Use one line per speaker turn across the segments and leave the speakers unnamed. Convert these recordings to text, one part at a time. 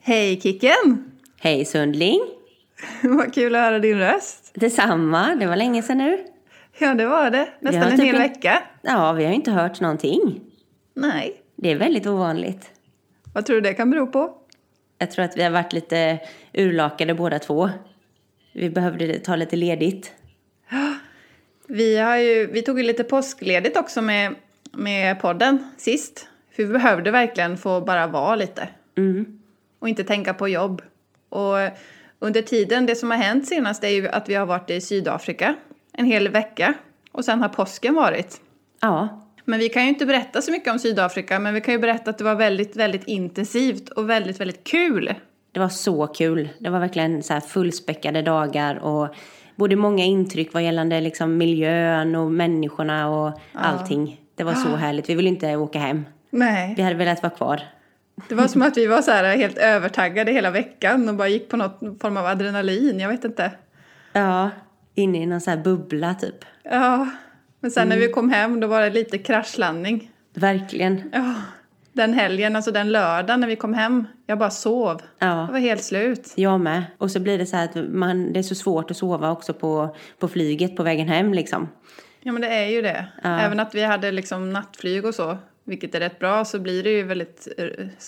Hej Kicken!
Hej Sundling!
Vad kul att höra din röst.
Detsamma, det var länge sedan nu.
Ja, det var det.
Vi
Nästan
har
en
typ
hel
in-
vecka.
Ja, vi har ju inte hört någonting.
Nej.
Det är väldigt ovanligt.
Vad tror du det kan bero på?
Jag tror att vi har varit lite urlakade båda två. Vi behövde ta lite ledigt.
Vi, har ju, vi tog ju lite påskledigt också med, med podden sist. För vi behövde verkligen få bara vara lite
Mm.
och inte tänka på jobb. Och under tiden, det som har hänt senast är ju att vi har varit i Sydafrika en hel vecka och sen har påsken varit.
Ja,
Men vi kan ju inte berätta så mycket om Sydafrika, men vi kan ju berätta att det var väldigt, väldigt intensivt och väldigt, väldigt kul.
det var så kul. Det var verkligen så här fullspäckade dagar och både många intryck vad gällande liksom miljön och människorna och allting. Det var så härligt. Vi ville inte åka hem.
Nej.
Vi hade velat vara kvar.
Det var som att vi var så här helt övertaggade hela veckan och bara gick på något form av adrenalin, jag vet inte.
Ja, inne i någon så här bubbla typ.
Ja, men sen när vi kom hem då var det lite kraschlandning.
Verkligen.
Ja, den helgen, alltså den lördagen när vi kom hem, jag bara sov.
Ja.
Jag var helt slut.
Jag med. Och så blir det så här att man, det är så svårt att sova också på, på flyget på vägen hem liksom.
Ja, men det är ju det. Även att vi hade liksom nattflyg och så, vilket är rätt bra, så blir det ju väldigt eh,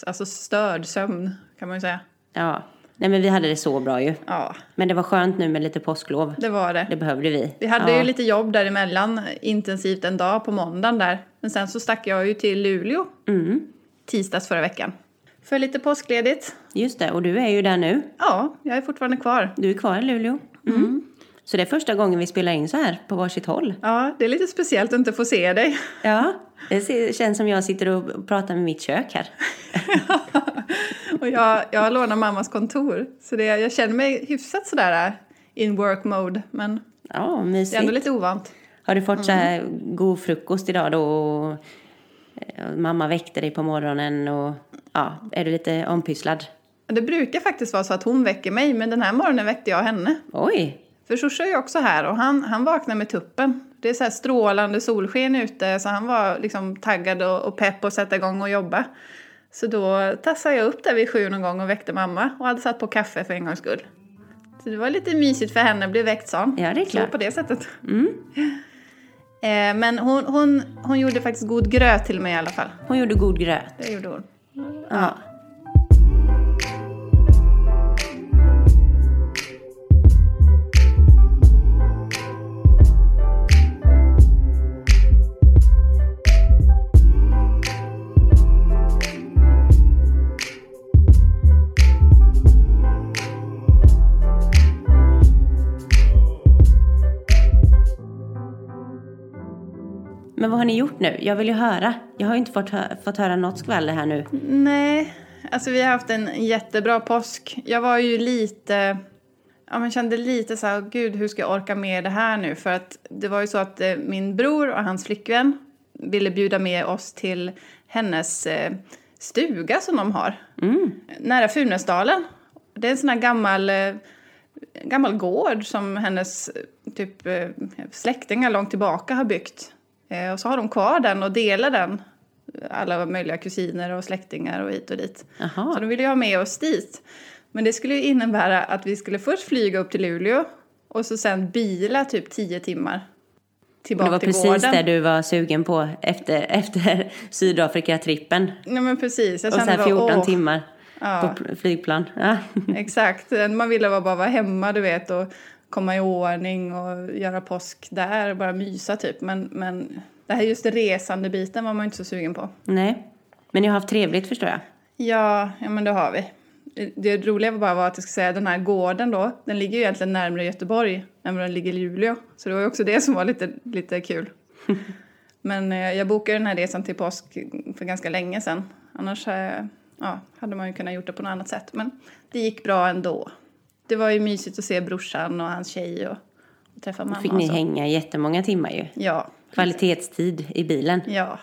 alltså störd sömn, kan man ju säga.
Ja. Nej men vi hade det så bra ju.
Ja,
Men det var skönt nu med lite påsklov.
det var det.
Det behövde vi.
Vi hade
ja.
ju lite jobb däremellan, intensivt en dag på måndagen där. Men sen så stack jag ju till Luleå
Mm,
tisdags förra veckan. För lite påskledigt.
just det. Och du är ju där nu.
Ja, jag är fortfarande kvar.
Du är kvar i Luleå. Mm. Så det är första gången vi spelar in så här på varsitt håll.
Ja, det är lite speciellt att inte få se dig.
Ja. Det ser- känns som jag sitter och pratar med mitt kök här.
Och jag, jag lånar mammas kontor. Så det, jag känner mig hyfsat sådär äh, in work mode. Men det
Ja,
är ändå Mm.
mysigt.
lite ovant.
Har du fått så här god frukost idag då? Och eh, mamma väckte dig på morgonen och ja, är du lite ompysslad?
Och Det brukar faktiskt vara så att hon väcker mig, men den här morgonen väckte jag henne.
Oj!
För Sorsa är ju också här och han, han vaknar med tuppen. Det är så här strålande solsken ute så han var liksom taggad och, och pepp och sätta igång och jobba. Så då tassade jag upp där vid sju någon gång och väckte mamma och hade satt på kaffe för en gångs skull. Så det var lite mysigt för henne att bli väckt sån.
Ja, det är
Så
klart. Mm.
på det sättet. Eh, men hon, hon, hon gjorde faktiskt god gröt till mig i alla fall.
Hon gjorde god gröt.
Det gjorde hon.
Ja. Men vad har ni gjort nu? Jag vill ju höra. Jag har ju inte fått, hö- fått höra något skvaller här nu.
Nej, alltså vi har haft en jättebra påsk. Jag var ju lite... Ja, men kände lite så här, gud hur ska jag orka med det här nu? För att det var ju så att eh, min bror och hans flickvän ville bjuda med oss till hennes eh, stuga som de har. Nära Funäsdalen. Det är en sån här gammal, eh, gammal gård som hennes eh, typ, eh, släktingar långt tillbaka har byggt. Eh, och så har de kvar den och delar den. eh, Alla möjliga kusiner och släktingar och hit och dit. Så
Jaha.
de ville ju ha med oss dit. Men det skulle ju innebära att vi skulle först flyga upp till Luleå och så sen bila typ tio timmar
Och Det
tillbaka
var
till
precis
gården.
det du var sugen på efter, efter Sydafrika-trippen.
Nej men precis. Jag
Och så
kände
här
bara,
14
åh.
timmar
Ja.
på pl- flygplan. Ja.
Exakt. Man ville bara vara hemma, du vet, och komma i ordning och göra påsk där och bara mysa typ. Men, men det här just resandebiten var man ju inte så sugen på.
Nej. Men ni har haft trevligt förstår jag.
Ja, ja men det har vi. Det roliga var bara var att jag ska säga den här gården då, den ligger ju egentligen närmare Göteborg än vad den ligger i Luleå. Så det var ju också det som var lite, lite kul. Men eh, jag bokade den här resan till påsk för ganska länge sedan. Annars eh, ja, hade man ju kunnat gjort det på något annat sätt. Men det gick bra ändå. Det var ju mysigt att se brorsan och hans tjej och, och träffa mamma.
Fick
och
ni
så.
hänga jättemånga timmar ju.
Ja,
Kvalitetstid i bilen.
Ja.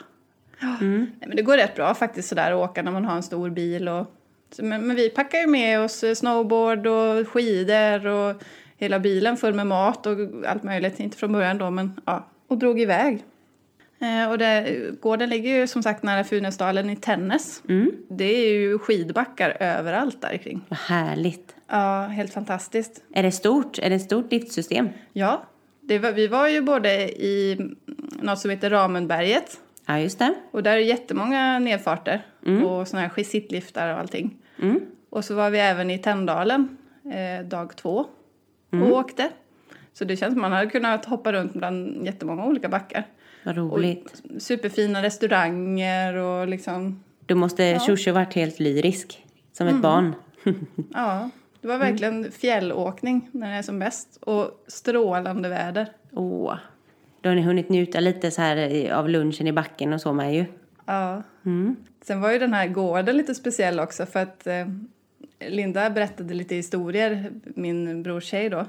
Mm. Ja. Nej, men det går rätt bra faktiskt sådär att åka när man har en stor bil. Och, så, men, men vi packar ju med oss eh, snowboard och skidor och hela bilen full med mat och allt möjligt. Inte från början då men ja. Och drog iväg. Eh, och det, gården ligger ju som sagt nära Funäsdalen i Tännäs. Det är ju skidbackar överallt där kring.
Vad härligt.
Ja, helt fantastiskt.
Är det stort? Är det ett stort liftsystem?
Ja, det var, vi var ju både i något som heter Ramenberget
Ja, just det.
och där är jättemånga nedfarter och sådana här sittliftar och allting. Och så var vi även i Tänndalen eh, dag två och åkte. Så det känns som man hade kunnat hoppa runt bland jättemånga olika backar.
Vad roligt.
Superfina restauranger och liksom,
Då måste Shushu varit helt lyrisk. Som
Mm.
ett barn.
ja. Det var verkligen fjällåkning när det är som bäst och strålande väder.
Åh. Då har ni hunnit njuta lite så här i- av lunchen i backen och så med ju.
Ja. Sen var ju den här gården lite speciell också för att eh, Linda berättade lite historier, min brors tjej då,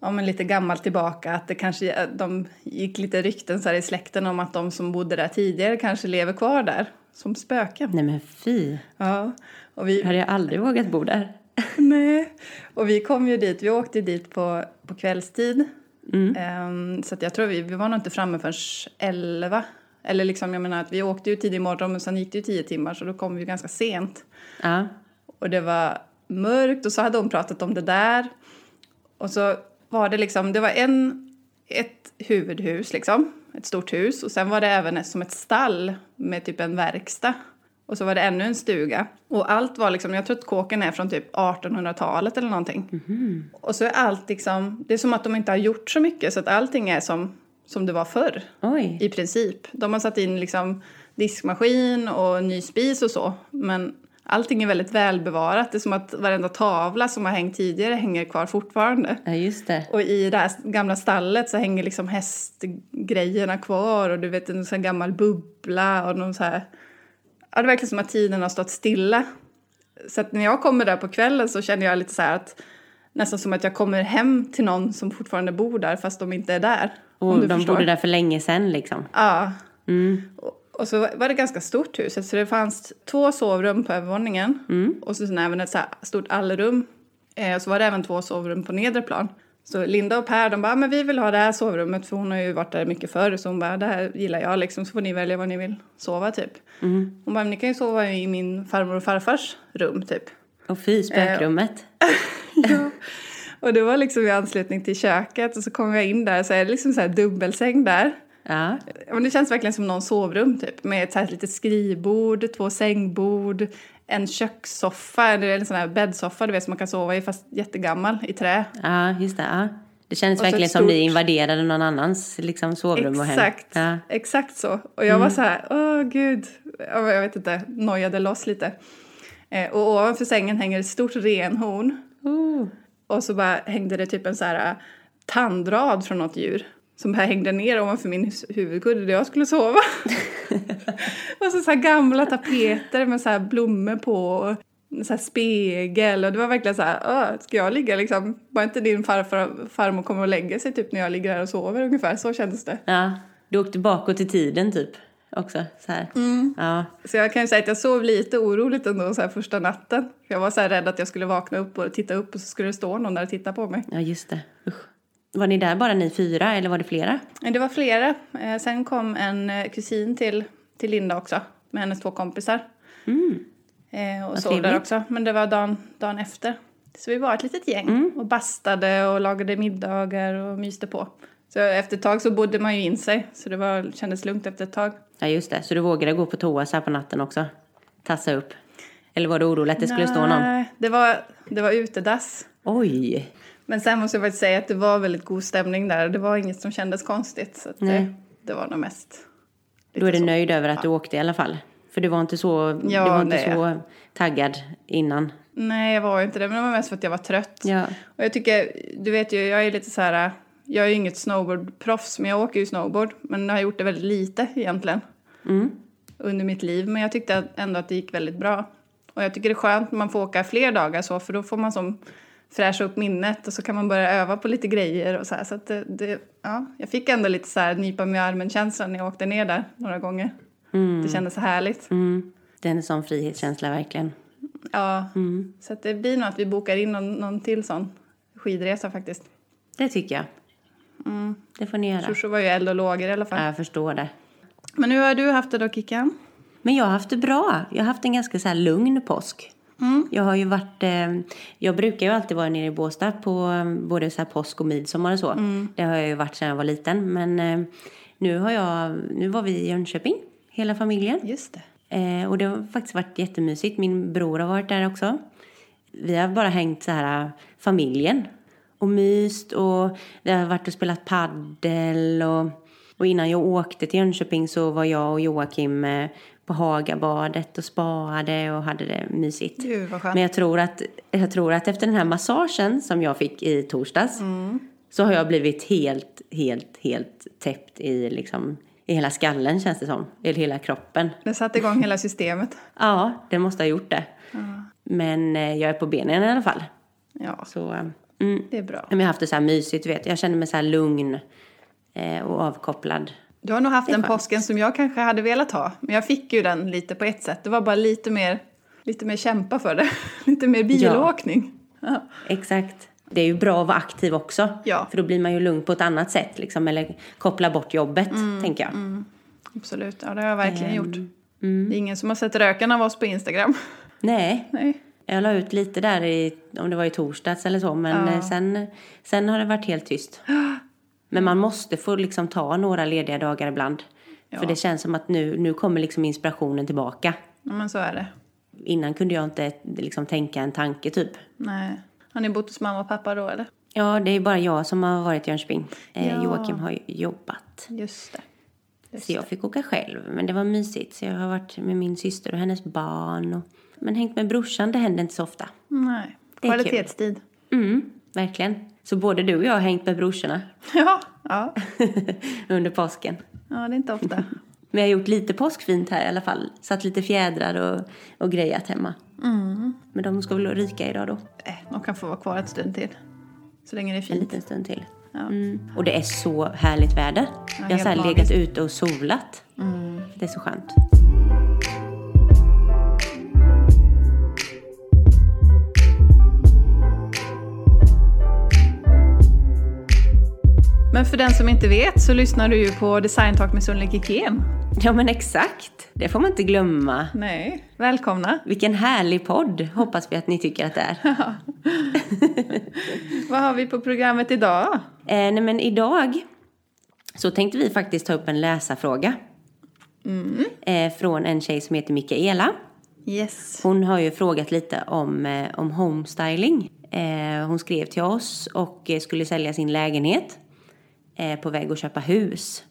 om en lite gammal tillbaka att det kanske att de gick lite rykten så här i släkten om att de som bodde där tidigare kanske lever kvar där som spöken.
Nej men fy.
Ja, och vi,
Hade jag aldrig vågat bo där.
nej. Och vi kom ju dit, vi åkte dit på, på kvällstid. Ehm, så att jag tror vi, vi var nog inte framme förrän elva. Eller liksom, jag menar att vi åkte ju tidig morgon men sen gick det ju tio timmar så då kom vi ju ganska sent.
Ja.
Och det var mörkt och så hade hon pratat om det där. Och så var det liksom, det var en, ett huvudhus liksom, ett stort hus. Och sen var det även som ett stall med typ en verkstad. Och så var det ännu en stuga. Och allt var liksom, jag tror att kåken är från typ 1800-talet eller någonting. Och så är allt liksom, det är som att de inte har gjort så mycket så att allting är som, som det var förr.
Oj.
I princip. De har satt in liksom diskmaskin och ny spis och så. Men allting är väldigt välbevarat. Det är som att varenda tavla som har hängt tidigare hänger kvar fortfarande.
Ja just det.
Och i det här gamla stallet så hänger liksom hästgrejerna kvar och du vet en sån här gammal bubbla och någon så här... Ja, det verkar som att tiden har stått stilla. Så att när jag kommer där på kvällen så känner jag lite så här att nästan som att jag kommer hem till någon som fortfarande bor där fast de inte är där. om
Och
du
de
förstår.
bodde där för länge sedan liksom.
Ja. Och, och så var det ganska stort huset, så det fanns två sovrum på övervåningen och så sen även ett så här stort allrum. Eh, och så var det även två sovrum på nedre plan. Så Linda och Per de bara, "Ah, men vi vill ha det här sovrummet för hon har ju varit där mycket förr så hon bara, det här gillar jag liksom så får ni välja var ni vill sova typ. Hon bara, men ni kan ju sova i min farmor och farfars rum typ.
Och fy, spökrummet.
Ja. Och det var liksom i anslutning till köket och så kom jag in där så är det liksom så här dubbelsäng där.
Ja.
Ja, men det känns verkligen som någon sovrum typ med ett så här litet skrivbord, två sängbord, en kökssoffa, eller en sån här bäddsoffa du vet som man kan sova i fast jättegammal i trä.
ja, just det. Ja. Det kändes
Och så ett
verkligen som ni
stort-
invaderade någon annans liksom, sovrum och hem.
Exakt,
Ja.
exakt så. Och jag var så här, åh gud, Ja, men jag vet inte, nojade loss lite. Eh, och ovanför sängen hänger ett stort renhorn
Oh.
och så bara hängde det typ en så här eh, tandrad från något djur som bara hängde ner ovanför min hus- huvudkudde där jag skulle sova. och så, så här gamla tapeter med så här blommor på och en så här spegel och det var verkligen så här, "Åh, ska jag ligga liksom, var inte din farfar farmor kommer och lägger sig typ när jag ligger här och sover ungefär, så kändes det.
Ja. Du åkte bakåt i tiden typ också. Så här.
Mm.
Ja.
Så jag kan ju säga att jag sov lite oroligt ändå så här första natten. Jag var så här rädd att jag skulle vakna upp och titta upp och så skulle det stå någon där och titta på mig.
ja, just det. Usch. Var ni där bara ni fyra eller var det flera?
Men Det var flera. Eh, Sen kom en eh, kusin till, till Linda också med hennes två kompisar. Eh, och sov där
Mm. trevligt.
också. Men det var dagen, dagen efter. Så vi var ett litet gäng
Mm.
och bastade och lagade middagar och myste på. Så efter ett tag så bodde man ju in sig så det var, kändes lugnt efter ett tag.
Ja, just det. Så du vågade gå på toa så här på natten också? Tassa upp? Eller var du orolig att det skulle stå någon?
Nej, Det var, det var utedass.
Oj!
Men sen måste jag faktiskt säga att det var väldigt god stämning där. Det var inget som kändes konstigt. Så att det,
Nej.
det var nog mest...
Då är
lite
du
så.
nöjd över att du åkte i alla fall? För du var inte så,
Ja,
du var inte
nej.
så taggad innan?
Nej, jag var ju inte det. Men det var mest för att jag var trött.
Ja.
Och jag tycker, du vet ju, jag är lite så här... Jag är ju inget snowboardproffs, men jag åker ju snowboard. Men jag har gjort det väldigt lite egentligen under mitt liv. Men jag tyckte att- ändå att det gick väldigt bra. Och jag tycker det är skönt när man får åka fler dagar så, för då får man som fräscha upp minnet och så kan man börja öva på lite grejer och så här. Så att det, det, ja, jag fick ändå lite så här nypa mig i armen-känslan när jag åkte ner där några gånger. Det kändes så härligt.
Mm. Det är en sån frihetskänsla verkligen.
Ja, så att det blir nog att vi bokar in någon, någon till sån skidresa faktiskt.
Det tycker jag. Det får ni göra.
Mm. Shushu var ju eld och lågor i alla fall.
Ja, jag förstår det.
Men hur har du haft det då Kickan?
Men jag har haft det bra. Jag har haft en ganska så här lugn påsk.
Mm.
Jag har ju varit, eh, jag brukar ju alltid vara nere i Båstad på eh, både så här påsk och midsommar och så.
Mm.
Det har jag ju varit sedan jag var liten. Men eh, nu har jag, nu var vi i Jönköping, hela familjen.
Just det.
Eh, och det har faktiskt varit jättemysigt. Min bror har varit där också. Vi har bara hängt så här äh, familjen och myst och vi har varit och spelat paddel och, och innan jag åkte till Jönköping så var jag och Joakim eh, på Hagabadet och spaade och hade det mysigt.
Gud vad skönt.
Men jag tror, att, jag tror att efter den här massagen som jag fick i torsdags så har jag blivit helt, helt, helt täppt i, liksom, i hela skallen känns det som. Eller hela kroppen.
Det satte igång hela systemet.
Ja, det måste ha gjort det. Men eh, jag är på benen i alla fall.
Ja,
Så, eh, mm.
det är bra.
Men jag har haft det så här mysigt, du vet. Jag känner mig så här lugn eh, och avkopplad.
Du har nog haft den påsken som jag kanske hade velat ha. Men jag fick ju den lite på ett sätt. Det var bara lite mer, lite mer kämpa för det. Lite mer bilåkning. Ja.
Exakt. Det är ju bra att vara aktiv också.
Ja.
För då blir man ju lugn på ett annat sätt. Liksom, eller koppla bort jobbet, tänker jag.
Absolut, ja, det har jag verkligen gjort. Det är ingen som har sett röken av oss på Instagram.
Nej.
Nej.
Jag la ut lite där, i, om det var i torsdags eller så. Men eh, sen, sen har det varit helt tyst. Men man måste få liksom ta några lediga dagar ibland. För det känns som att nu, nu kommer liksom inspirationen tillbaka.
Ja, Men så är det.
Innan kunde jag inte liksom tänka en tanke typ.
Nej. Har ni bott hos mamma och pappa då eller?
Ja, det är bara jag som har varit i Jönköping. Eh,
Ja.
Joakim har ju jobbat.
Just det.
Så jag fick åka själv, men det var mysigt. Så jag har varit med min syster och hennes barn. Och... Men hängt med brorsan, det händer inte så ofta.
Nej.
Det är kul.
Kvalitetstid.
Mm, verkligen. Så både du och jag har hängt med brorsorna
Ja. ja.
under påsken.
Ja, det är inte ofta.
Men jag har gjort lite påskfint här i alla fall. Satt lite fjädrar och, och grejat hemma.
Mm.
Men de ska väl ryka idag då,
Nej, Eh, de kan få vara kvar ett stund till. Så länge det är
en
fint.
liten stund till.
Ja.
Mm. Och det är så härligt väder. jag har
helt Mm.
så här
magiskt.
legat ute och solat. Det är så skönt.
Men för den som inte vet så lyssnar du ju på Design Talk med Sunle Kikén.
Ja men exakt, det får man inte glömma.
Nej. Välkomna.
Vilken härlig podd hoppas vi att ni tycker att det är. Eh,
Vad har vi på programmet idag?
eh, nej men idag så tänkte vi faktiskt ta upp en läsarfråga.
Mm.
Eh, från en tjej som heter Mikaela.
Yes.
Hon har ju frågat lite om, eh, om homestyling. Eh, hon skrev till oss och eh, skulle sälja sin lägenhet. Eh, på väg att köpa hus.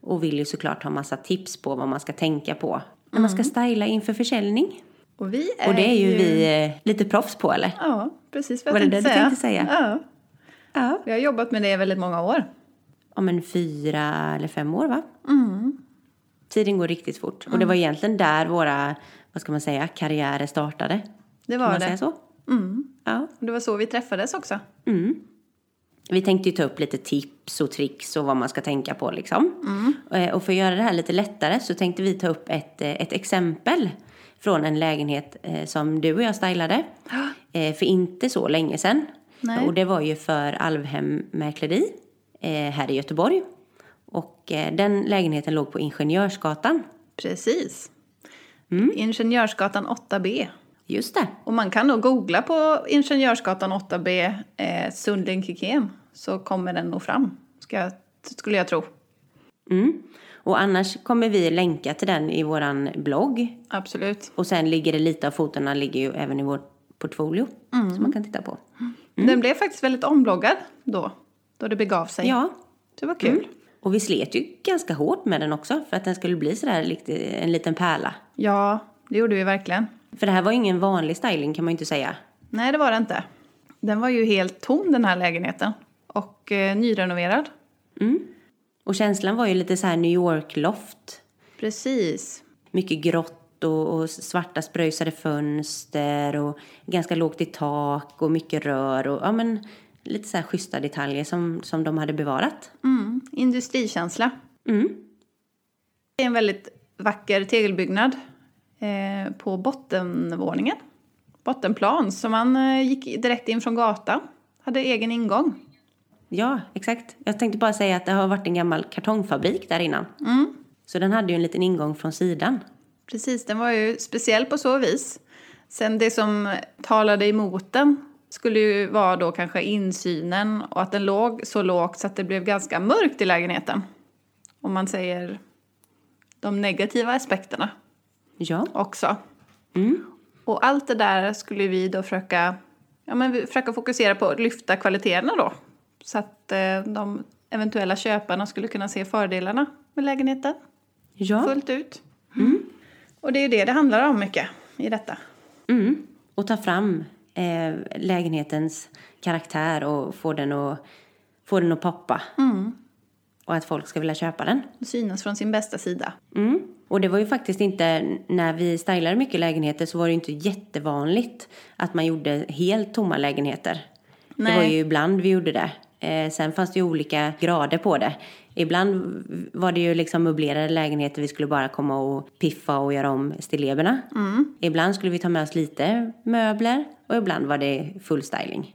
Och vill ju såklart ha massa tips på vad man ska tänka på. När man ska styla inför försäljning.
Och vi Mm. är
Och det är ju vi eh, lite proffs på eller?
Ja, precis vad
Var
jag
det
tänkte
det du
säga.
tänkte säga?
Ja.
Ja.
Vi har jobbat med det i väldigt många år.
Om en fyra eller fem år va?
Mm.
Tiden går riktigt fort. Och det var egentligen där våra, vad ska man säga, karriärer startade.
Det
Kan
var
man säga
det. Mm.
så? Ja.
Och det var så vi träffades också.
Vi tänkte ju ta upp lite tips och tricks och vad man ska tänka på liksom. Eh, Och för att göra det här lite lättare så tänkte vi ta upp ett, eh, ett exempel från en lägenhet eh, som du och jag stylade eh, för inte så länge sedan.
Nej.
Och det var ju för Alvhem Mäkleri eh, här i Göteborg. Och eh, den lägenheten låg på Ingenjörsgatan.
Precis. Ingenjörsgatan 8B.
Just det.
Och man kan nog googla på Ingenjörsgatan 8B, eh, Sundling Kikén, så kommer den nog fram, ska jag, skulle jag tro.
Mm. Och annars kommer vi länka till den i våran blogg
Absolut.
Och sen ligger det lite av fotona ligger ju även i vårt portfolio som man kan titta på.
Den blev faktiskt väldigt ombloggad då, då det begav sig.
Ja.
Det var kul.
Och vi slet ju ganska hårt med den också för att den skulle bli sådär likt en liten pärla.
Ja, det gjorde vi verkligen.
För det här var ju ingen vanlig styling kan man ju inte säga.
Nej, det var det inte. Den var ju helt tom den här lägenheten och eh, nyrenoverad.
Och känslan var ju lite så här New York-loft.
Precis.
Mycket grått och, och svarta spröjsade fönster och ganska lågt i tak och mycket rör och ja men lite så här schyssta detaljer som, som de hade bevarat.
Mm. Industrikänsla.
Mm.
Det är en väldigt vacker tegelbyggnad eh, på bottenvåningen. Bottenplan, så man eh, gick direkt in från gatan. Hade egen ingång.
Ja, exakt. Jag tänkte bara säga att det har varit en gammal kartongfabrik där innan. Så den hade ju en liten ingång från sidan.
Precis, den var ju speciell på så vis. Sen det som talade emot den skulle ju vara då kanske insynen och att den låg så lågt så att det blev ganska mörkt i lägenheten. Om man säger de negativa aspekterna
Ja.
också.
Mm.
Och allt det där skulle vi då försöka, ja, men vi försöka fokusera på att lyfta kvaliteterna då. Så att eh, de eventuella köparna skulle kunna se fördelarna med lägenheten
Ja.
fullt ut. Och det är ju det det handlar om mycket i detta.
Mm. Och ta fram eh, lägenhetens karaktär och få den att, få den att poppa. Och att folk ska vilja köpa den.
Synas från sin bästa sida.
Mm. Och det var ju faktiskt inte, när vi stylade mycket lägenheter så var det ju inte jättevanligt att man gjorde helt tomma lägenheter.
Nej.
Det var ju ibland vi gjorde det. Eh, sen fanns det ju olika grader på det. Ibland var det ju liksom möblerade lägenheter vi skulle bara komma och piffa och göra om stilleberna. Ibland skulle vi ta med oss lite möbler och ibland var det full styling.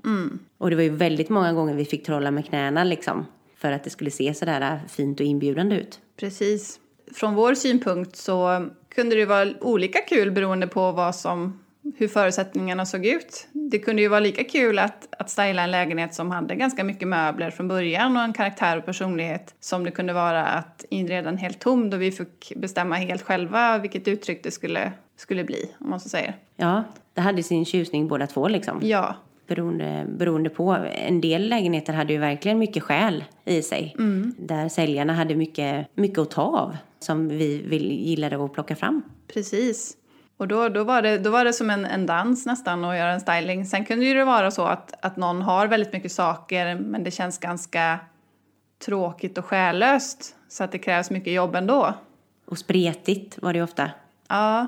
Och det var ju väldigt många gånger vi fick trolla med knäna liksom. För att det skulle se sådär fint och inbjudande ut.
Precis. Från vår synpunkt så kunde det ju vara olika kul beroende på vad som, hur förutsättningarna såg ut. Det kunde ju vara lika kul att, att styla en lägenhet som hade ganska mycket möbler från början och en karaktär och personlighet som det kunde vara att inreda en helt tom då vi fick bestämma helt själva vilket uttryck det skulle, skulle bli, om man så säger.
Ja, det hade sin tjusning båda två liksom.
Ja,
Beroende, beroende på. En del lägenheter hade ju verkligen mycket själ i sig. Där säljarna hade mycket, mycket att ta av. Som vi vill, gillade att plocka fram.
Precis. Och då, då, var det, då var det som en, en dans nästan att göra en styling. Sen kunde ju det vara så att, att någon har väldigt mycket saker men det känns ganska tråkigt och själlöst så att det krävs mycket jobb ändå.
Och spretigt var det ju ofta.
Ja,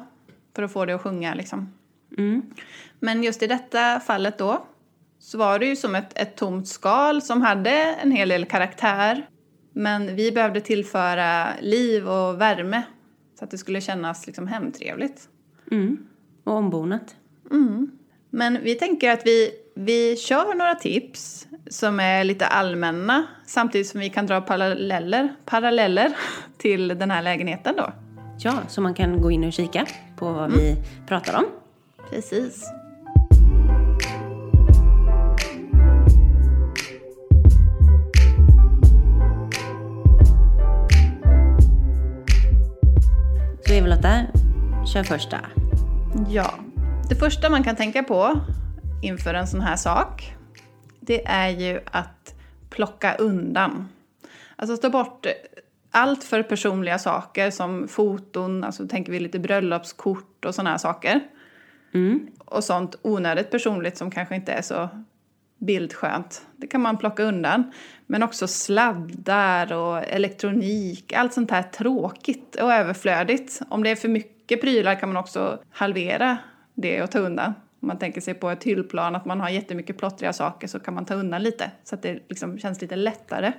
för att få det att sjunga liksom.
Mm.
Men just i detta fallet då så var det ju som ett, ett tomt skal som hade en hel del karaktär. Men vi behövde tillföra liv och värme så att det skulle kännas liksom hemtrevligt.
Mm. Och ombonat.
Men vi tänker att vi, vi kör några tips som är lite allmänna samtidigt som vi kan dra paralleller, paralleller till den här lägenheten då.
Ja, så man kan gå in och kika på vad vi pratar om.
Precis.
Så Eva-Lotta, kör första.
Ja. Det första man kan tänka på inför en sån här sak det är ju att plocka undan. Alltså ta bort allt för personliga saker som foton, alltså tänker vi lite bröllopskort och såna här saker. och sånt onödigt personligt som kanske inte är så bildskönt. Det kan man plocka undan. Men också sladdar och elektronik, allt sånt här tråkigt och överflödigt. Om det är för mycket prylar kan man också halvera det och ta undan. Om man tänker sig på ett hyllplan att man har jättemycket plottriga saker så kan man ta undan lite så att det liksom känns lite lättare.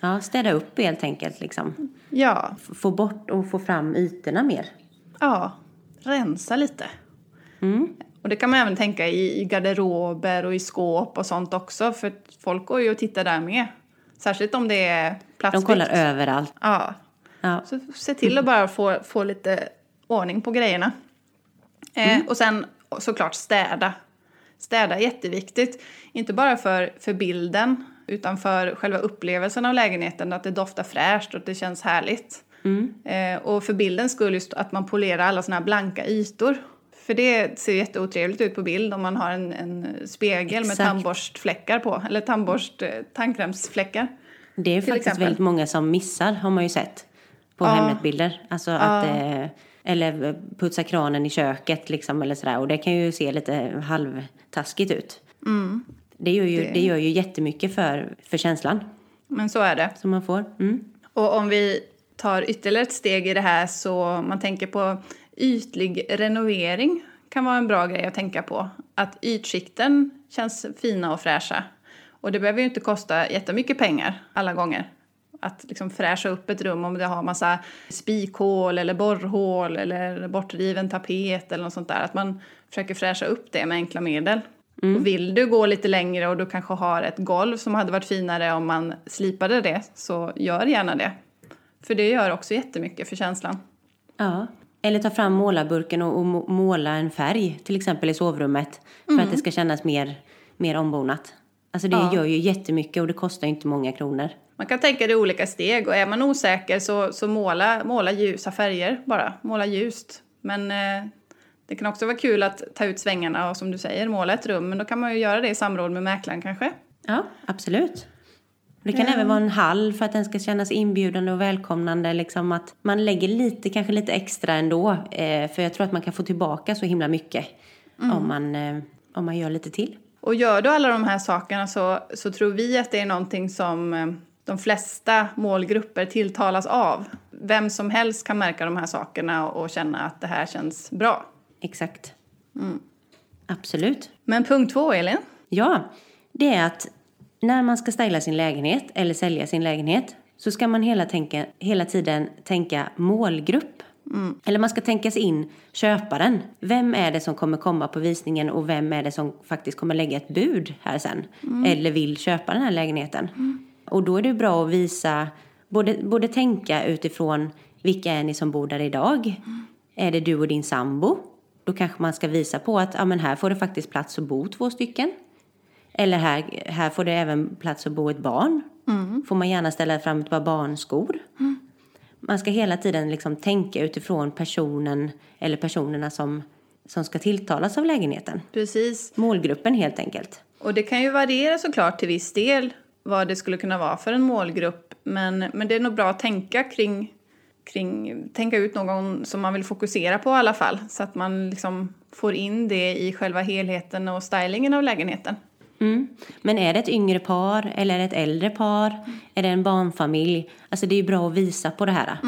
Ja, städa upp helt enkelt liksom.
Ja,
F- Få bort och få fram ytorna mer.
ja, rensa lite.
Mm.
Och det kan man även tänka i, i garderober och i skåp och sånt också för att folk går ju och tittar där med. Särskilt om det är
De
platsbrist.
kollar överallt.
Ja.
Ja.
Så se till att bara få, få lite ordning på grejerna. Eh, och sen såklart städa. Städa är jätteviktigt. Inte bara för, för bilden utan för själva upplevelsen av lägenheten. Att det doftar fräscht och att det känns härligt. Eh, och för bilden skulle just att man polerar alla såna här blanka ytor. För det ser jätteotrevligt ut på bild om man har en, en spegel med
Exakt.
tandborstfläckar på. Eller tandborst, eh, tandkrämsfläckar.
Det är faktiskt
exempel.
väldigt många som missar har man ju sett på Hemnetbilder. Alltså att, eh, eller putsa kranen i köket liksom eller sådär. Och det kan ju se lite halvtaskigt ut.
Mm.
Det, gör ju, det... gör ju jättemycket för, för känslan
Men så är det.
som man får. Mm.
Och om vi tar ytterligare ett steg i det här så om man tänker på ytlig renovering kan vara en bra grej att tänka på. Att ytskikten känns fina och fräscha. Och det behöver ju inte kosta jättemycket pengar alla gånger. Att liksom fräscha upp ett rum om det har massa spikhål eller borrhål eller bortriven tapet eller något sånt där. Att man försöker fräscha upp det med enkla medel. Och vill du gå lite längre och du kanske har ett golv som hade varit finare om man slipade det, så gör gärna det. För det gör också jättemycket för känslan.
Ja. Eller ta fram målarburken och, och må- måla en färg till exempel i sovrummet för att det ska kännas mer, mer ombonat. Alltså det
Mm. Ja.
gör ju jättemycket och det kostar ju inte många kronor.
Man kan tänka det i olika steg och är man osäker så, så måla, måla ljusa färger bara, måla ljust. Men eh, det kan också vara kul att ta ut svängarna och som du säger måla ett rum men då kan man ju göra det i samråd med mäklaren kanske.
Ja, absolut. Det kan även vara en hall för att den ska kännas inbjudande och välkomnande. Liksom att man lägger lite, kanske lite extra ändå. Eh, för jag tror att man kan få tillbaka så himla mycket om, man, eh, om man gör lite till.
Och gör du alla de här sakerna så, så tror vi att det är någonting som eh, de flesta målgrupper tilltalas av. Vem som helst kan märka de här sakerna och, och känna att det här känns bra.
Exakt. Absolut.
Men punkt två, Elin.
Ja, det är att när man ska styla sin lägenhet eller sälja sin lägenhet så ska man hela, tänka, hela tiden tänka målgrupp. Eller man ska tänka sig in köparen. Vem är det som kommer komma på visningen och vem är det som faktiskt kommer lägga ett bud här sen? Eller vill köpa den här lägenheten? Och då är det bra att visa, både, både tänka utifrån vilka är ni som bor där idag? Är det du och din sambo? Då kanske man ska visa på att ja, men här får det faktiskt plats att bo två stycken. Eller här, här får det även plats att bo ett barn. Får man gärna ställa fram ett par barnskor. Man ska hela tiden liksom tänka utifrån personen eller personerna som, som ska tilltalas av lägenheten.
Precis.
Målgruppen helt enkelt.
Och det kan ju variera såklart till viss del vad det skulle kunna vara för en målgrupp. Men, men det är nog bra att tänka kring, kring, tänka ut någon som man vill fokusera på i alla fall. Så att man liksom får in det i själva helheten och stylingen av lägenheten.
Mm. Men är det ett yngre par eller är det ett äldre par? Är det en barnfamilj? Alltså det är ju bra att visa på det här.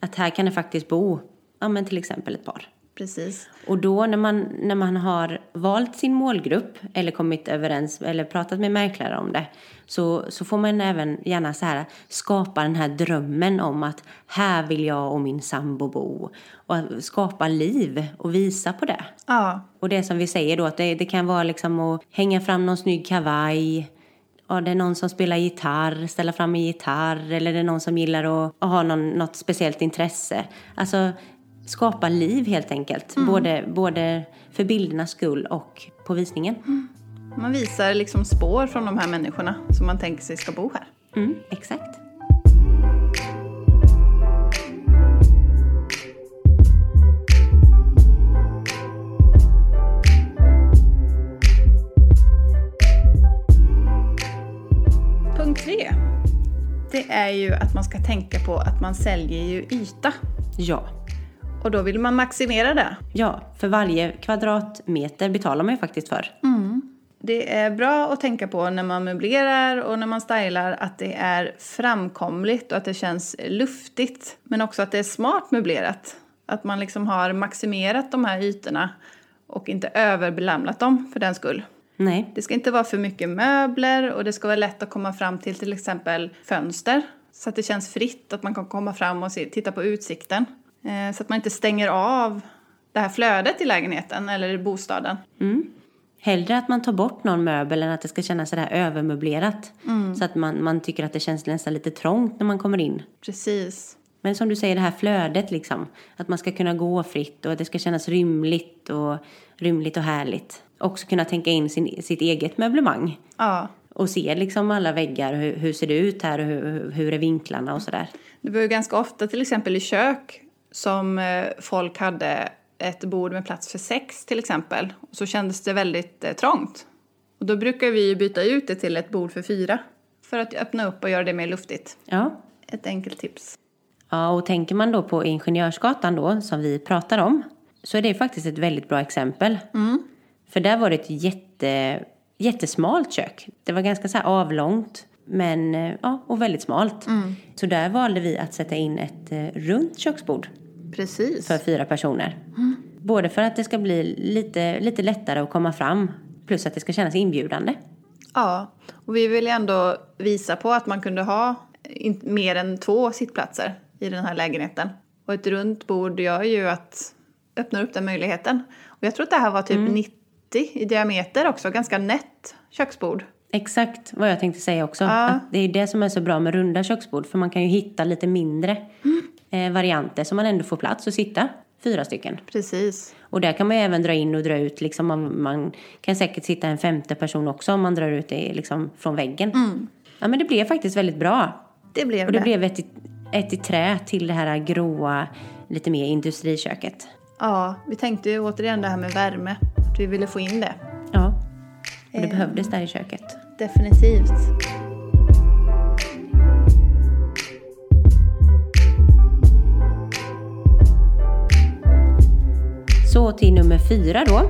Att här kan det faktiskt bo, ja men till exempel ett par.
Precis.
Och då när man, när man har valt sin målgrupp eller kommit överens eller pratat med mäklare om det så, så får man även gärna så här, skapa den här drömmen om att här vill jag och min sambo bo. Och att skapa liv och visa på det.
Ja,
Och det som vi säger då att det, det kan vara liksom att hänga fram någon snygg kavaj. Ja, det är någon som spelar gitarr, ställa fram en gitarr. Eller det är någon som gillar att, att ha någon, något speciellt intresse. Alltså skapa liv helt enkelt. Både, både för bildernas skull och på visningen.
man visar liksom spår från de här människorna som man tänker sig ska bo här.
Mm, exakt.
Punkt tre. Det är ju att man ska tänka på att man säljer ju yta.
Ja.
Och då vill man maximera det.
Ja, för varje kvadratmeter betalar man ju faktiskt för.
Det är bra att tänka på när man möblerar och när man stylar att det är framkomligt och att det känns luftigt. Men också att det är smart möblerat. Att man liksom har maximerat de här ytorna och inte överbelamrat dem för den skull.
Nej,
Det ska inte vara för mycket möbler och det ska vara lätt att komma fram till till exempel fönster. Så att det känns fritt, att man kan komma fram och se, titta på utsikten. Eh, så att man inte stänger av det här flödet i lägenheten eller i bostaden.
Hellre att man tar bort någon möbel än att det ska kännas sådär övermöblerat. Så att man, man tycker att det känns nästan lite trångt när man kommer in.
Precis.
Men som du säger, det här flödet liksom. Att man ska kunna gå fritt och att det ska kännas rymligt och, rymligt och härligt. Också kunna tänka in sin, sitt eget möblemang.
Ja.
Och se liksom alla väggar, hur, hur ser det ut här och hur, hur är vinklarna och sådär.
Det var ju ganska ofta till exempel i kök som eh, folk hade ett bord med plats för sex till exempel. Och så kändes det väldigt eh, trångt. Och då brukar vi ju byta ut det till ett bord för fyra. För att öppna upp och göra det mer luftigt.
Ja.
Ett enkelt tips.
Ja, och tänker man då på Ingenjörsgatan då, som vi pratar om, så är det faktiskt ett väldigt bra exempel. För där var det ett jätte, jättesmalt kök. Det var ganska så här avlångt, men eh, ja, och väldigt smalt. Så där valde vi att sätta in ett eh, runt köksbord
Precis.
för fyra personer. Både för att det ska bli lite, lite lättare att komma fram, plus att det ska kännas inbjudande.
Ja, och vi vill ju ändå visa på att man kunde ha in- mer än två sittplatser i den här lägenheten. Och ett runt bord gör ju att öppnar upp den
Mm.
möjligheten. Och jag tror att det här var typ 90 i diameter också, ganska nätt köksbord.
Exakt vad jag tänkte säga också.
Ja.
Att det är det som är så bra med runda köksbord. För man kan ju hitta lite mindre eh, varianter så man ändå får plats att sitta. Fyra stycken.
Precis.
Och där kan man ju även dra in och dra ut. Liksom man, man kan säkert sitta en femte person också om man drar ut det liksom från väggen. Ja men det blev faktiskt väldigt bra.
Det blev
Och det blev ett i, ett i trä till det här gråa, lite mer industriköket.
Ja, vi tänkte ju återigen det här med värme. Att vi ville få in det.
Ja, och det behövdes där i köket.
Definitivt.
Så till nummer fyra då.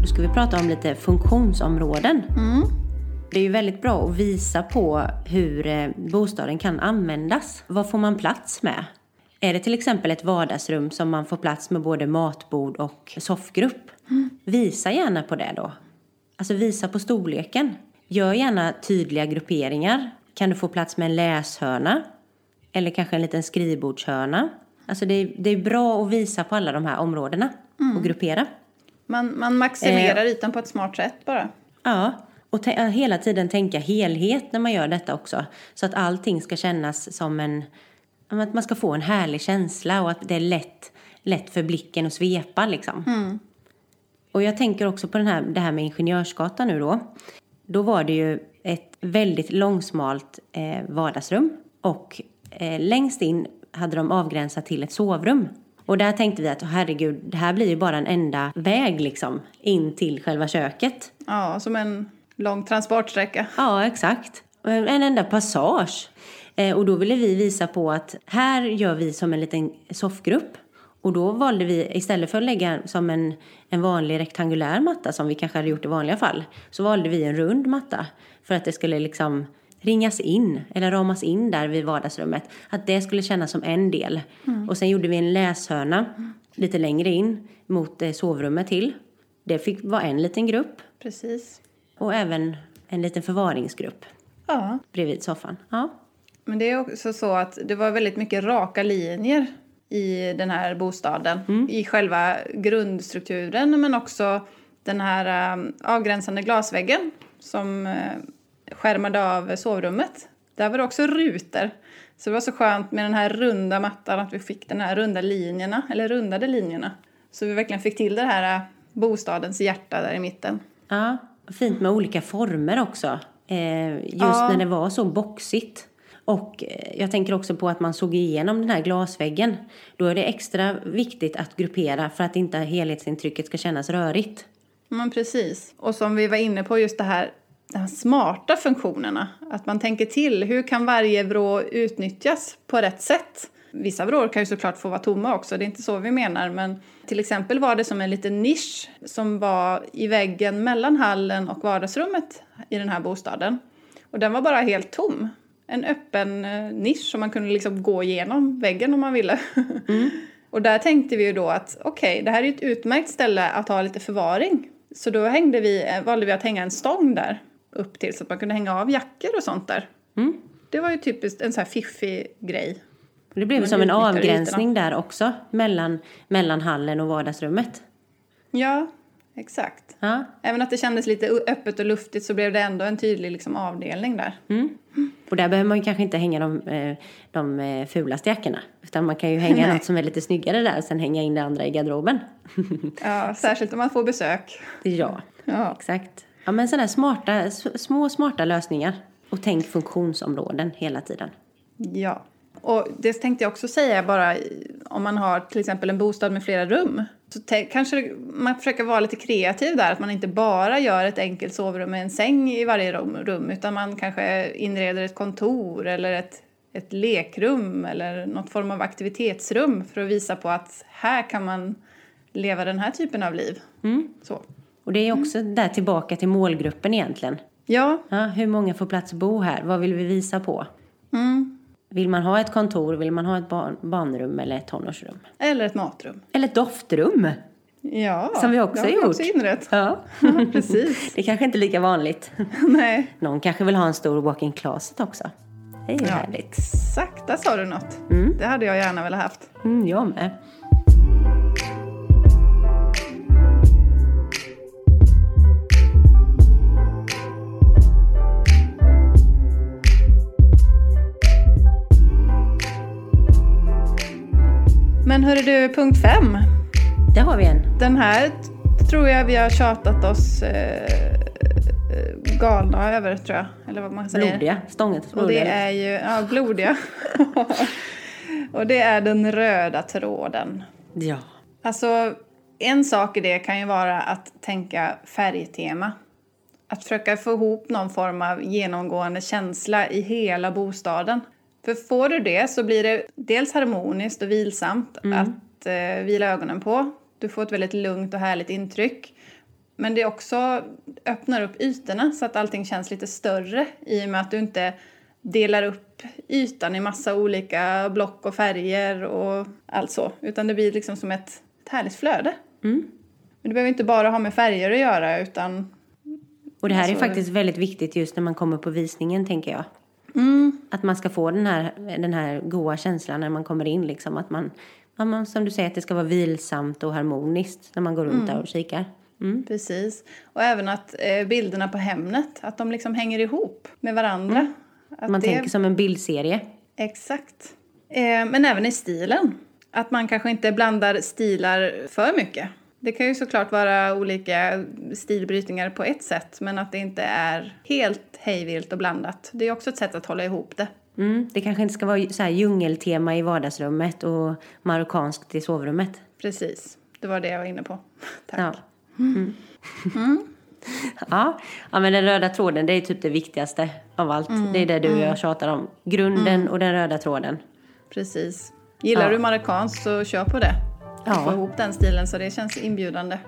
Då ska vi prata om lite funktionsområden. Det är ju väldigt bra att visa på hur eh, bostaden kan användas. Vad får man plats med? Är det till exempel ett vardagsrum som man får plats med både matbord och soffgrupp? Visa gärna på det då. Alltså visa på storleken. Gör gärna tydliga grupperingar. Kan du få plats med en läshörna? Eller kanske en liten skrivbordshörna? Alltså det är, det är bra att visa på alla de här områdena och gruppera.
Man, man maximerar
Eh.
ytan på ett smart sätt bara.
Ja, och tä- äh, hela tiden tänka helhet när man gör detta också. Så att allting ska kännas som en... ja, men Att man ska få en härlig känsla och att det är lätt, lätt för blicken att svepa liksom. Och jag tänker också på den här, det här med Ingenjörsgatan nu då. Då var det ju ett väldigt långsmalt eh, vardagsrum och eh, längst in hade de avgränsat till ett sovrum. Och där tänkte vi att "Åh, herregud, det här blir ju bara en enda väg liksom in till själva köket.
Ja, som en lång transportsträcka.
Ja, exakt. Eh, En enda passage. Eh, Och då ville vi visa på att här gör vi som en liten soffgrupp. Och då valde vi, istället för att lägga som en, en vanlig rektangulär matta som vi kanske hade gjort i vanliga fall, så valde vi en rund matta. För att det skulle liksom ringas in, eller ramas in där vid vardagsrummet. Att det skulle kännas som en del. Och sen gjorde vi en läshörna lite längre in mot eh, sovrummet till. Det fick vara en liten grupp.
Precis.
Och även en liten förvaringsgrupp
Ja.
bredvid soffan. Ja,
Men det är också så att det var väldigt mycket raka linjer i den här bostaden. I själva grundstrukturen men också den här eh, avgränsande glasväggen som eh, skärmade av sovrummet. Där var det också rutor. Så det var så skönt med den här runda mattan att vi fick den här runda linjerna, eller rundade linjerna. Så vi verkligen fick till det här eh, bostadens hjärta där i mitten.
ja. Fint med olika former också. Eh, just
Ja.
när det var så boxigt. Och eh, jag tänker också på att man såg igenom den här glasväggen. Då är det extra viktigt att gruppera för att inte helhetsintrycket ska kännas rörigt.
Men precis. Och som vi var inne på, just det här, de här smarta funktionerna. Att man tänker till, hur kan varje vrå utnyttjas på rätt sätt? Vissa vrår kan ju såklart få vara tomma också, det är inte så vi menar. Men till exempel var det som en liten nisch som var i väggen mellan hallen och vardagsrummet i den här bostaden. Och den var bara helt tom. En öppen eh, nisch som man kunde liksom gå igenom väggen om man ville. och där tänkte vi ju då att okej, det här är ju ett utmärkt ställe att ha lite förvaring. Så då hängde vi, eh, valde vi att hänga en stång där upp till så att man kunde hänga av jackor och sånt där. Det var ju typiskt en så här fiffig grej.
Det blev
Man
som en
utnyttjar
avgränsning där också mellan, mellan hallen och vardagsrummet.
Ja, exakt.
Ja.
Även att det kändes lite ö- öppet och luftigt så blev det ändå en tydlig liksom, avdelning där.
Och där behöver man ju kanske inte hänga de, eh, de eh, fulaste jackorna. Utan man kan ju hänga
Nej.
något som är lite snyggare där och sen hänga in det andra i garderoben.
Ja, särskilt om man får besök.
ja,
Ja.
exakt. Ja men sådana smarta, s- små smarta lösningar. Och tänk funktionsområden hela tiden.
Ja. Och det tänkte jag också säga bara i- om man har till exempel en bostad med flera rum. Så tä- kanske man försöker vara lite kreativ där, att man inte bara gör ett enkelt sovrum med en säng i varje rum, rum utan man kanske inreder ett kontor eller ett, ett lekrum eller något form av aktivitetsrum för att visa på att här kan man leva den här typen av liv.
Mm.
Så.
Och det är
Mm.
också där tillbaka till målgruppen egentligen.
Ja,
Ja, hur många får plats att bo här? Vad vill vi visa på?
mm.
Vill man ha ett kontor? Vill man ha ett barn, barnrum eller ett tonårsrum?
eller ett matrum.
Eller ett doftrum?
Ja,
Som vi också
det har vi
gjort.
också inrett.
Ja,
Ja, precis.
det är kanske inte är lika vanligt.
Nej.
Någon kanske vill ha en stor walk-in closet också. Det är ju härligt.
Exakt, där sa du något. Det hade jag gärna velat haft.
Mm, jag med.
Men hörru du, punkt fem.
Där har vi en.
Den här t- tror jag vi har tjatat oss eh, eh, galna över, tror jag. Eller vad man säger.
Blodiga. Stånget
Och det
blodiga.
är ju, ja, blodiga. och det är den röda tråden.
Ja.
Alltså, en sak i det kan ju vara att tänka färgtema. Att försöka få ihop någon form av genomgående känsla i hela bostaden. För får du det så blir det dels harmoniskt och vilsamt att eh, vila ögonen på. Du får ett väldigt lugnt och härligt intryck. Men det också öppnar upp ytorna så att allting känns lite större i och med att du inte delar upp ytan i massa olika block och färger och allt så. Utan det blir liksom som ett, ett härligt flöde.
Mm.
Men det behöver inte bara ha med färger att göra utan
Och det här är
Alltså-
faktiskt väldigt viktigt just när man kommer på visningen tänker jag.
Mm.
Att man ska få den här, den här goa känslan när man kommer in liksom. Att man, ja, man, som du säger, att det ska vara vilsamt och harmoniskt när man går
Mm.
runt där och kikar. Mm.
Precis. Och även att eh, bilderna på Hemnet, att de liksom hänger ihop med varandra. Att
Mm. man
det-
tänker som en bildserie.
Exakt. Eh, men även i stilen. Att man kanske inte blandar stilar för mycket. Det kan ju såklart vara olika stilbrytningar på ett sätt men att det inte är helt hejvilt och blandat. Det är också ett sätt att hålla ihop det.
Mm. Det kanske inte ska vara så här djungeltema i vardagsrummet och marockanskt i sovrummet.
Precis. Det var det jag var inne på. Tack. Mm.
Ja. Mm. ja. ja, men den röda tråden det är typ det viktigaste av allt.
Mm.
Det är det du och jag tjatar om. Grunden och den röda tråden.
Precis. Gillar
Ja.
du marockansk så kör på det.
Ja.
Få ihop den stilen så det känns inbjudande.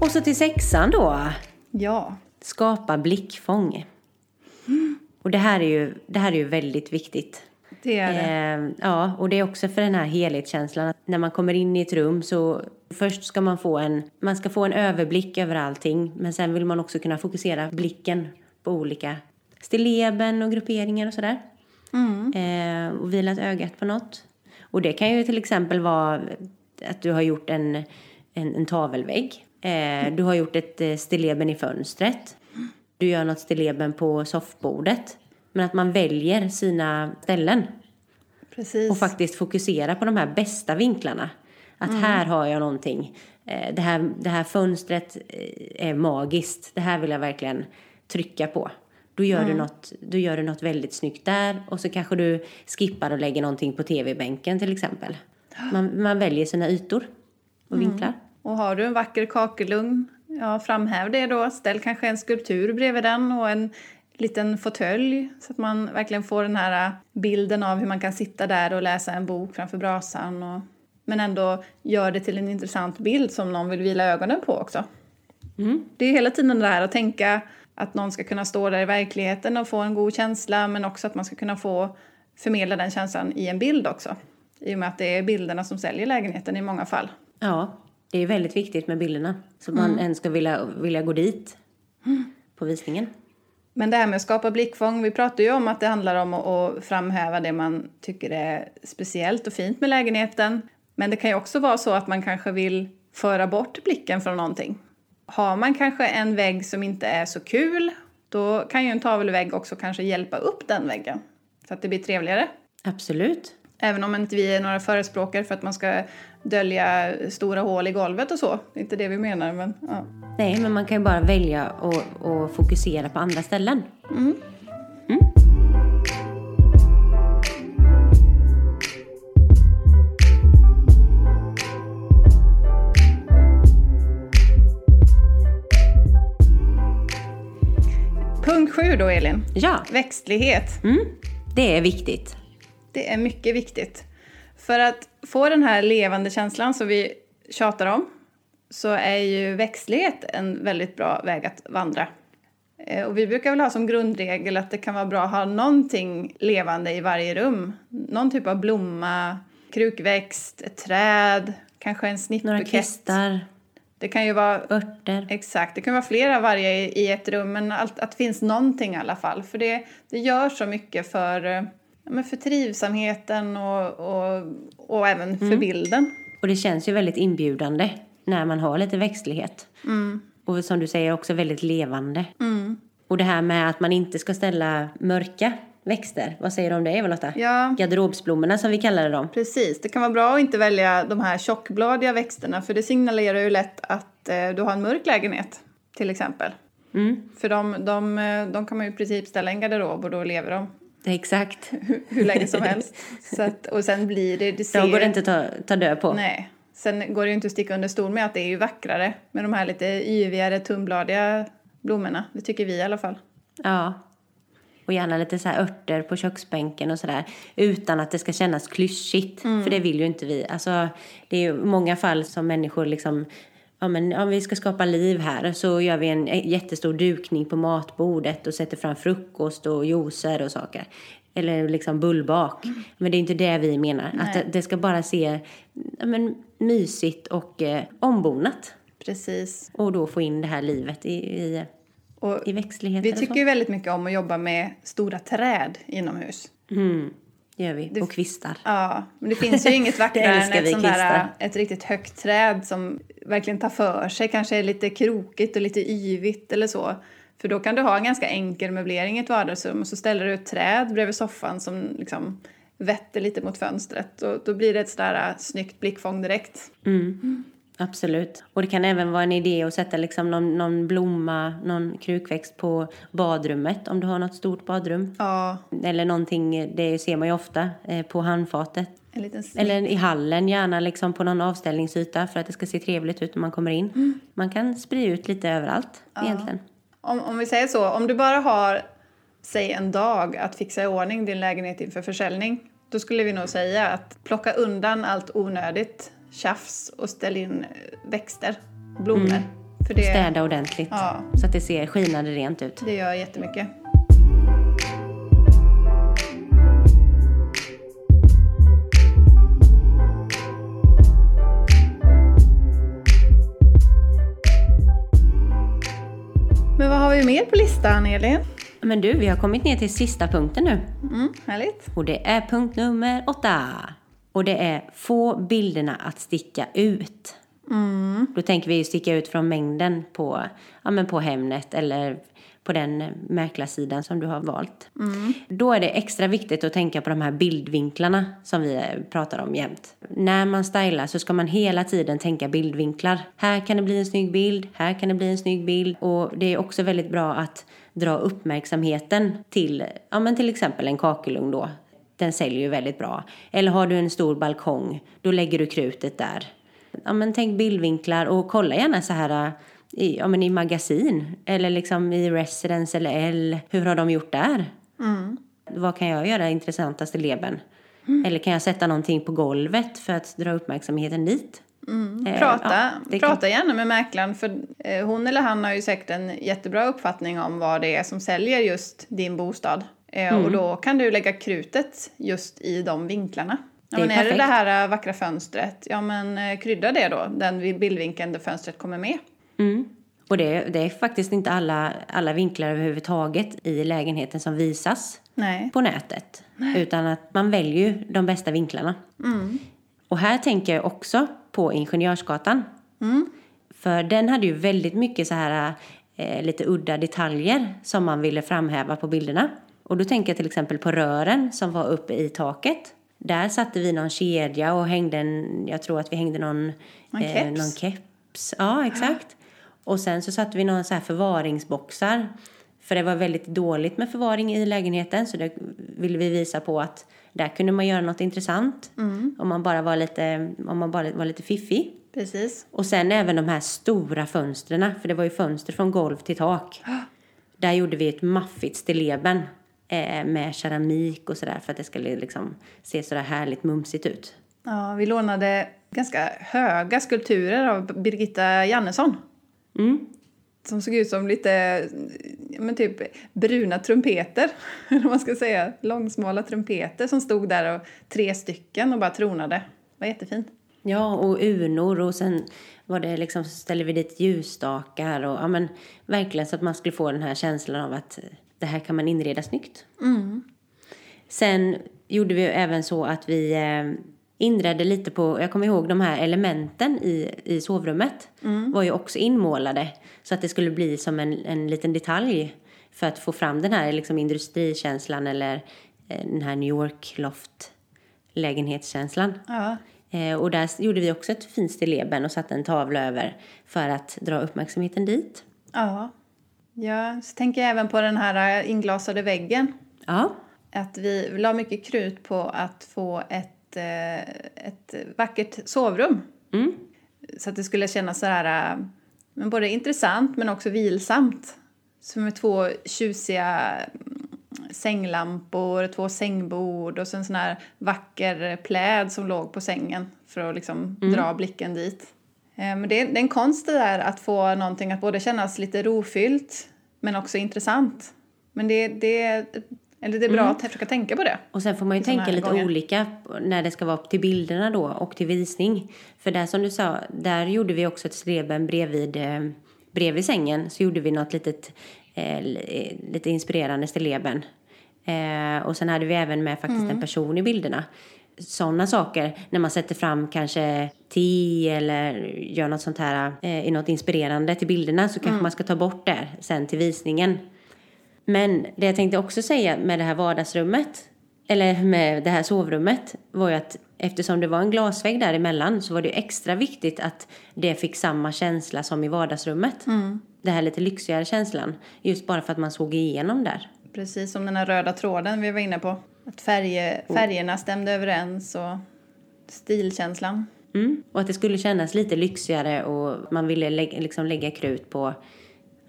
Och så till sexan då.
Ja.
Skapa blickfång. Och det här är ju, det här är ju väldigt viktigt.
Det är det.
Eh, ja, och det är också för den här helhetskänslan. Att när man kommer in i ett rum så först ska man få en, man ska få en överblick över allting. Men sen vill man också kunna fokusera blicken på olika stilleben och grupperingar och sådär. Eh, och vilat ögat på något. Och det kan ju till exempel vara att du har gjort en, en, en tavelvägg. Eh, du har gjort ett eh, stilleben i fönstret. Du gör något stilleben på soffbordet. Men att man väljer sina ställen
Precis.
och faktiskt fokusera på de här bästa vinklarna. Att här har jag någonting. Eh, Det här, det här fönstret eh, är magiskt. Det här vill jag verkligen trycka på. Då gör, du något, då gör du något väldigt snyggt där och så kanske du skippar och lägger någonting på tv-bänken till exempel. Man, man väljer sina ytor och vinklar.
Och har du en vacker kakelugn, ja, framhäv det då. Ställ kanske en skulptur bredvid den och en liten fåtölj så att man verkligen får den här äh, bilden av hur man kan sitta där och läsa en bok framför brasan. Och, men ändå gör det till en intressant bild som någon vill vila ögonen på också. Det är hela tiden det här att tänka att någon ska kunna stå där i verkligheten och få en god känsla men också att man ska kunna få förmedla den känslan i en bild också. I och med att det är bilderna som säljer lägenheten i många fall.
Ja, det är väldigt viktigt med bilderna. Så man ens ska vilja, vilja gå dit på visningen.
Men det här med att skapa blickfång, vi pratar ju om att det handlar om att, att framhäva det man tycker är speciellt och fint med lägenheten. Men det kan ju också vara så att man kanske vill föra bort blicken från någonting. Har man kanske en vägg som inte är så kul, då kan ju en tavelvägg också kanske hjälpa upp den väggen så att det blir trevligare.
Absolut.
Även om inte vi är några förespråkare för att man ska dölja stora hål i golvet och så. Det är inte det vi menar, men ja.
Nej, men man kan ju bara välja och, och fokusera på andra ställen.
Punkt sju då, Elin.
Ja,
Växtlighet.
mm. det är viktigt.
Det är mycket viktigt. För att få den här levande känslan som vi tjatar om så är ju växtlighet en väldigt bra väg att vandra. Eh, Och vi brukar väl ha som grundregel att det kan vara bra att ha någonting levande i varje rum. Någon typ av blomma, krukväxt, ett träd, kanske en
Några
snittbukett.
kvistar,
Det kan ju vara
örter.
Exakt, det kan vara flera varje i i ett rum men allt, att det finns någonting i alla fall. För det, det gör så mycket för, eh, ja, men för
Mm.
trivsamheten och, och, och även för bilden.
Och det känns ju väldigt inbjudande. när man har lite växtlighet.
Mm.
Och som du säger också väldigt levande. Och det här med att man inte ska ställa mörka växter. Vad säger du om det Eva-Lotta?
Ja.
Garderobsblommorna som vi kallade dem.
Precis, det kan vara bra att inte välja de här tjockbladiga växterna för det signalerar ju lätt att eh, du har en mörk lägenhet till exempel.
Mm.
För de, de, eh, de kan man ju i princip ställa i en garderob och då lever de
Exakt.
hur länge som helst. Så att, och sen blir det... det ser,
De går det inte att ta, ta död på.
Nej. Sen går det ju inte att sticka under stol med att det är ju vackrare med de här lite yvigare, tunnbladiga blommorna. Det tycker vi i alla fall.
Ja. Och gärna lite så här örter på köksbänken och sådär. Utan att det ska kännas klyschigt.
Mm.
För det vill ju inte vi. Alltså, det är ju många fall som människor liksom... Ja, men om vi ska skapa liv här så gör vi en jättestor dukning på matbordet och sätter fram frukost och juicer och saker. Eller liksom bullbak.
Mm.
Men det är inte det vi menar. Att det- det ska bara se ja, men, mysigt och eh, ombonat.
Precis.
Och då få in det här livet i, i,
Och
i växtligheten.
vi
och
tycker ju väldigt mycket om att jobba med stora träd inomhus.
Mm, det gör vi. Och kvistar.
Ja, men det finns ju inget vackrare
Det
än
älskar
ett,
vi
sånt där, äh,
kvistar.
ett riktigt högt träd som verkligen tar för sig, kanske är lite krokigt och lite yvigt eller så. För då kan du ha en ganska enkel möblering i ett vardagsrum och så ställer du ett träd bredvid soffan som liksom vetter lite mot fönstret och då blir det ett sådär äh, snyggt blickfång direkt.
Absolut. Och det kan även vara en idé att sätta liksom någon, någon blomma, någon krukväxt på badrummet om du har något stort badrum.
Ja,
Eller någonting, det ser man ju ofta, eh, på handfatet.
en liten s-
Eller i hallen, gärna liksom på någon avställningsyta för att det ska se trevligt ut när man kommer in. Man kan sprida ut lite överallt egentligen.
Om, om vi säger så, om du bara har, säg en dag att fixa i ordning din lägenhet inför försäljning, då skulle vi nog säga att plocka undan allt onödigt tjafs och ställ in eh, växter och blommor. För det,
Städa ordentligt
Ja.
så att det ser skinande rent ut.
det gör jättemycket. Men vad har vi mer på listan, Elin?
Men du, vi har kommit ner till sista punkten nu.
Mm, härligt.
Och det är punkt nummer åtta. Och det är få bilderna att sticka ut. Då tänker vi ju sticka ut från mängden på, ja, men på Hemnet eller på den mäklarsidan som du har valt. Då är det extra viktigt att tänka på de här bildvinklarna som vi eh, pratar om jämt. När man stylar så ska man hela tiden tänka bildvinklar. Här kan det bli en snygg bild, här kan det bli en snygg bild. Och det är också väldigt bra att dra uppmärksamheten till, ja men till exempel en kakelugn då. Den säljer ju väldigt bra. Eller har du en stor balkong, då lägger du krutet där. Ja, men tänk bildvinklar och kolla gärna så här äh, i, ja, men i magasin eller liksom i Residence eller L. Hur har de gjort där?
Mm.
Vad kan jag göra intressantaste leben? Eller kan jag sätta någonting på golvet för att dra uppmärksamheten dit? Eh,
Mm. Prata,
ja, det kan-
prata gärna med mäklaren för eh, hon eller han har ju säkert en jättebra uppfattning om vad det är som säljer just din bostad. Eh,
Mm.
Och då kan du lägga krutet just i de vinklarna. Ja,
Det är
men är det det
perfekt.
här eh, vackra fönstret, ja men eh, krydda det då, den vid bildvinkeln där fönstret kommer med.
Mm. Och det, det är faktiskt inte alla, alla vinklar överhuvudtaget i lägenheten som visas
Nej.
på nätet. Utan att man väljer ju de bästa vinklarna. Och här tänker jag också på Ingenjörsgatan. För den hade ju väldigt mycket så här eh, lite udda detaljer som man ville framhäva på bilderna. Och då tänker jag till exempel på rören som var uppe i taket. Där satte vi någon kedja och hängde en, jag tror att vi hängde någon, eh,
Någon keps.
någon keps. Ja, exakt. Och sen så satte vi några så här förvaringsboxar. För det var väldigt dåligt med förvaring i lägenheten så det ville vi visa på att där kunde man göra något intressant.
Mm.
Om, man bara var lite, om man bara var lite fiffig.
Precis.
Och sen även de här stora fönstren, för det var ju fönster från golv till tak. Där gjorde vi ett maffigt stilleben eh, med keramik och sådär för att det skulle liksom se sådär härligt mumsigt ut.
Ja, vi lånade ganska höga skulpturer av Birgitta Jannesson.
Mm.
Som såg ut som lite ja, men typ bruna trumpeter, eller vad man ska säga. Långsmala trumpeter som stod där, och tre stycken, och bara tronade. Det var jättefint.
Ja, och urnor och sen var det liksom, så ställde vi dit ljusstakar och ja men verkligen så att man skulle få den här känslan av att eh, det här kan man inreda snyggt. Sen gjorde vi ju även så att vi eh, inredde lite på, jag kommer ihåg de här elementen i, i sovrummet var ju också inmålade så att det skulle bli som en, en liten detalj för att få fram den här liksom, industrikänslan eller eh, den här New York-loft-lägenhetskänslan.
Ja.
Eh, och där s- gjorde vi också ett fint stilleben och satte en tavla över för att dra uppmärksamheten dit.
Ja. ja. Så tänker jag även på den här eh, inglasade väggen.
Ja,
Att vi la mycket krut på att få ett, eh, ett vackert sovrum.
Mm.
Så att det skulle kännas så här, eh, men både intressant men också vilsamt. Som med två tjusiga mm, sänglampor, två sängbord och så en sån här vacker pläd som låg på sängen för att liksom dra blicken dit. Eh, Men det är, det är en konst det där att få någonting att både kännas lite rofyllt men också intressant. Men det, det, eller det är bra att försöka tänka på det.
Och sen får man ju
I såna
tänka
här
lite
gånger.
olika när det ska vara upp till bilderna då och till visning. För där som du sa, där gjorde vi också ett streben bredvid, eh, bredvid sängen. Så gjorde vi något litet, eh, li- lite inspirerande streben. Eh, och sen hade vi även med faktiskt en person i bilderna. Sådana saker, när man sätter fram kanske te eller gör något sånt här eh, i något inspirerande till bilderna så kanske man ska ta bort det sen till visningen. Men det jag tänkte också säga med det här vardagsrummet, eller med det här sovrummet, var ju att eftersom det var en glasvägg däremellan så var det ju extra viktigt att det fick samma känsla som i vardagsrummet. Mm. Det här lite lyxigare känslan, just bara för att man såg igenom där.
Precis som den här röda tråden vi var inne på. Att färge,
Oh.
färgerna stämde överens och stilkänslan.
Mm. Och att det skulle kännas lite lyxigare och man ville lä- liksom lägga krut på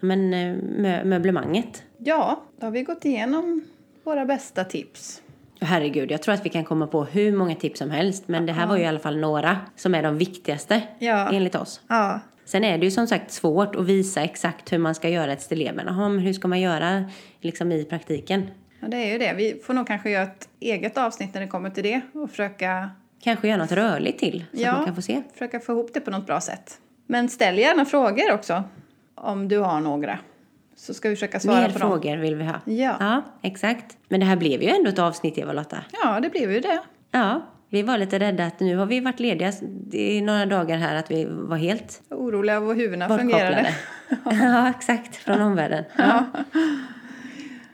men, eh, mö- möblemanget.
Ja, då har vi gått igenom våra bästa tips.
Herregud, jag tror att vi kan komma på hur många tips som helst men det här var ju i alla fall några som är de viktigaste
Ja.
enligt oss.
Ja,
Sen är det ju som sagt svårt att visa exakt hur man ska göra ett stilleben. Jaha, men hur ska man göra liksom i praktiken?
ja det är ju det. Vi får nog kanske göra ett eget avsnitt när det kommer till det och försöka,
Kanske göra något rörligt till så
Ja.
att man kan få se.
försöka få ihop det på något bra sätt. Men ställ gärna frågor också, om du har några. Så ska vi försöka svara
Mer
på dem.
frågor vill vi ha.
Ja.
exakt. Men det här blev ju ändå ett avsnitt, Eva-Lotta.
Ja, det blev ju det.
Ja, vi var lite rädda att nu har vi varit lediga i några dagar här att vi var helt
Oroliga över hur huvudena fungerade.
bortkopplade. ja, exakt. Från omvärlden. Ja.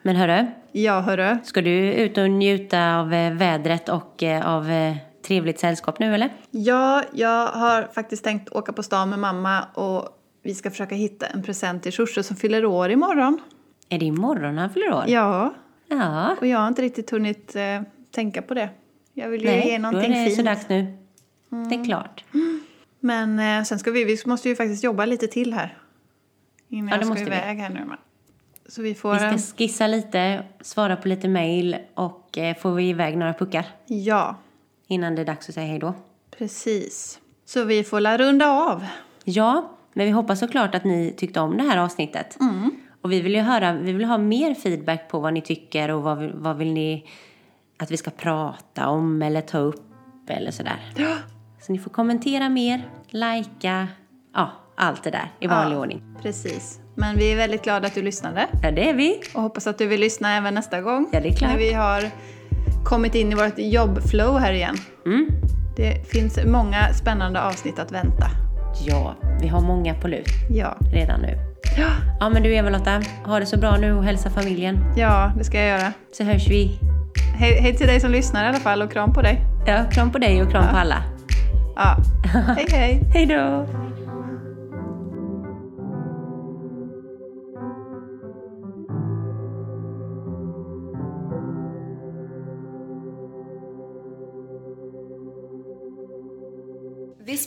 Men hörru,
Ja, hörru.
ska du ut och njuta av eh, vädret och eh, av eh, trevligt sällskap nu eller?
Ja, jag har faktiskt tänkt åka på stan med mamma och vi ska försöka hitta en present till Shoshu som fyller år
Mm.
imorgon.
Är det imorgon han fyller år?
Ja,
Ja.
och jag har inte riktigt hunnit eh, tänka på det. Jag vill ju ge
Nej, då är
någonting
det
fint. Mm.
så dags nu. Det är klart.
Men eh, sen ska vi, vi måste ju faktiskt jobba lite till här. Innan
Ja, det
jag ska
måste vi.
iväg här nu. med. Så vi får...
Vi
en-
ska skissa lite, svara på lite mejl och eh, får vi iväg några puckar
Ja,
innan det är dags att säga hej då.
precis. Så vi får la runda av.
Ja, men vi hoppas såklart att ni tyckte om det här avsnittet.
Mm.
Och vi vill ju höra, vi vill ha mer feedback på vad ni tycker och vad, vi- vad vill ni att vi ska prata om eller ta upp eller sådär.
Ja,
Så ni får kommentera mer, likea, ja, allt det där i vanlig
Ja.
ordning.
precis. Men vi är väldigt glada att du lyssnade.
Ja, det är vi.
Och hoppas att du vill lyssna även nästa gång.
Ja, det är klart.
När vi har kommit in i vårt jobbflow här igen.
Mm.
Det finns många spännande avsnitt att vänta.
Ja, vi har många på lut
Ja.
redan nu.
Ja,
Ja men du Eva-Lotta, ha det så bra nu och hälsa familjen.
ja det ska jag göra.
Så hörs vi.
Hej, hej till dig som lyssnar i alla fall och kram på dig.
Ja, kram på dig och kram på alla.
Ja. Hej hej.
Hej då!
This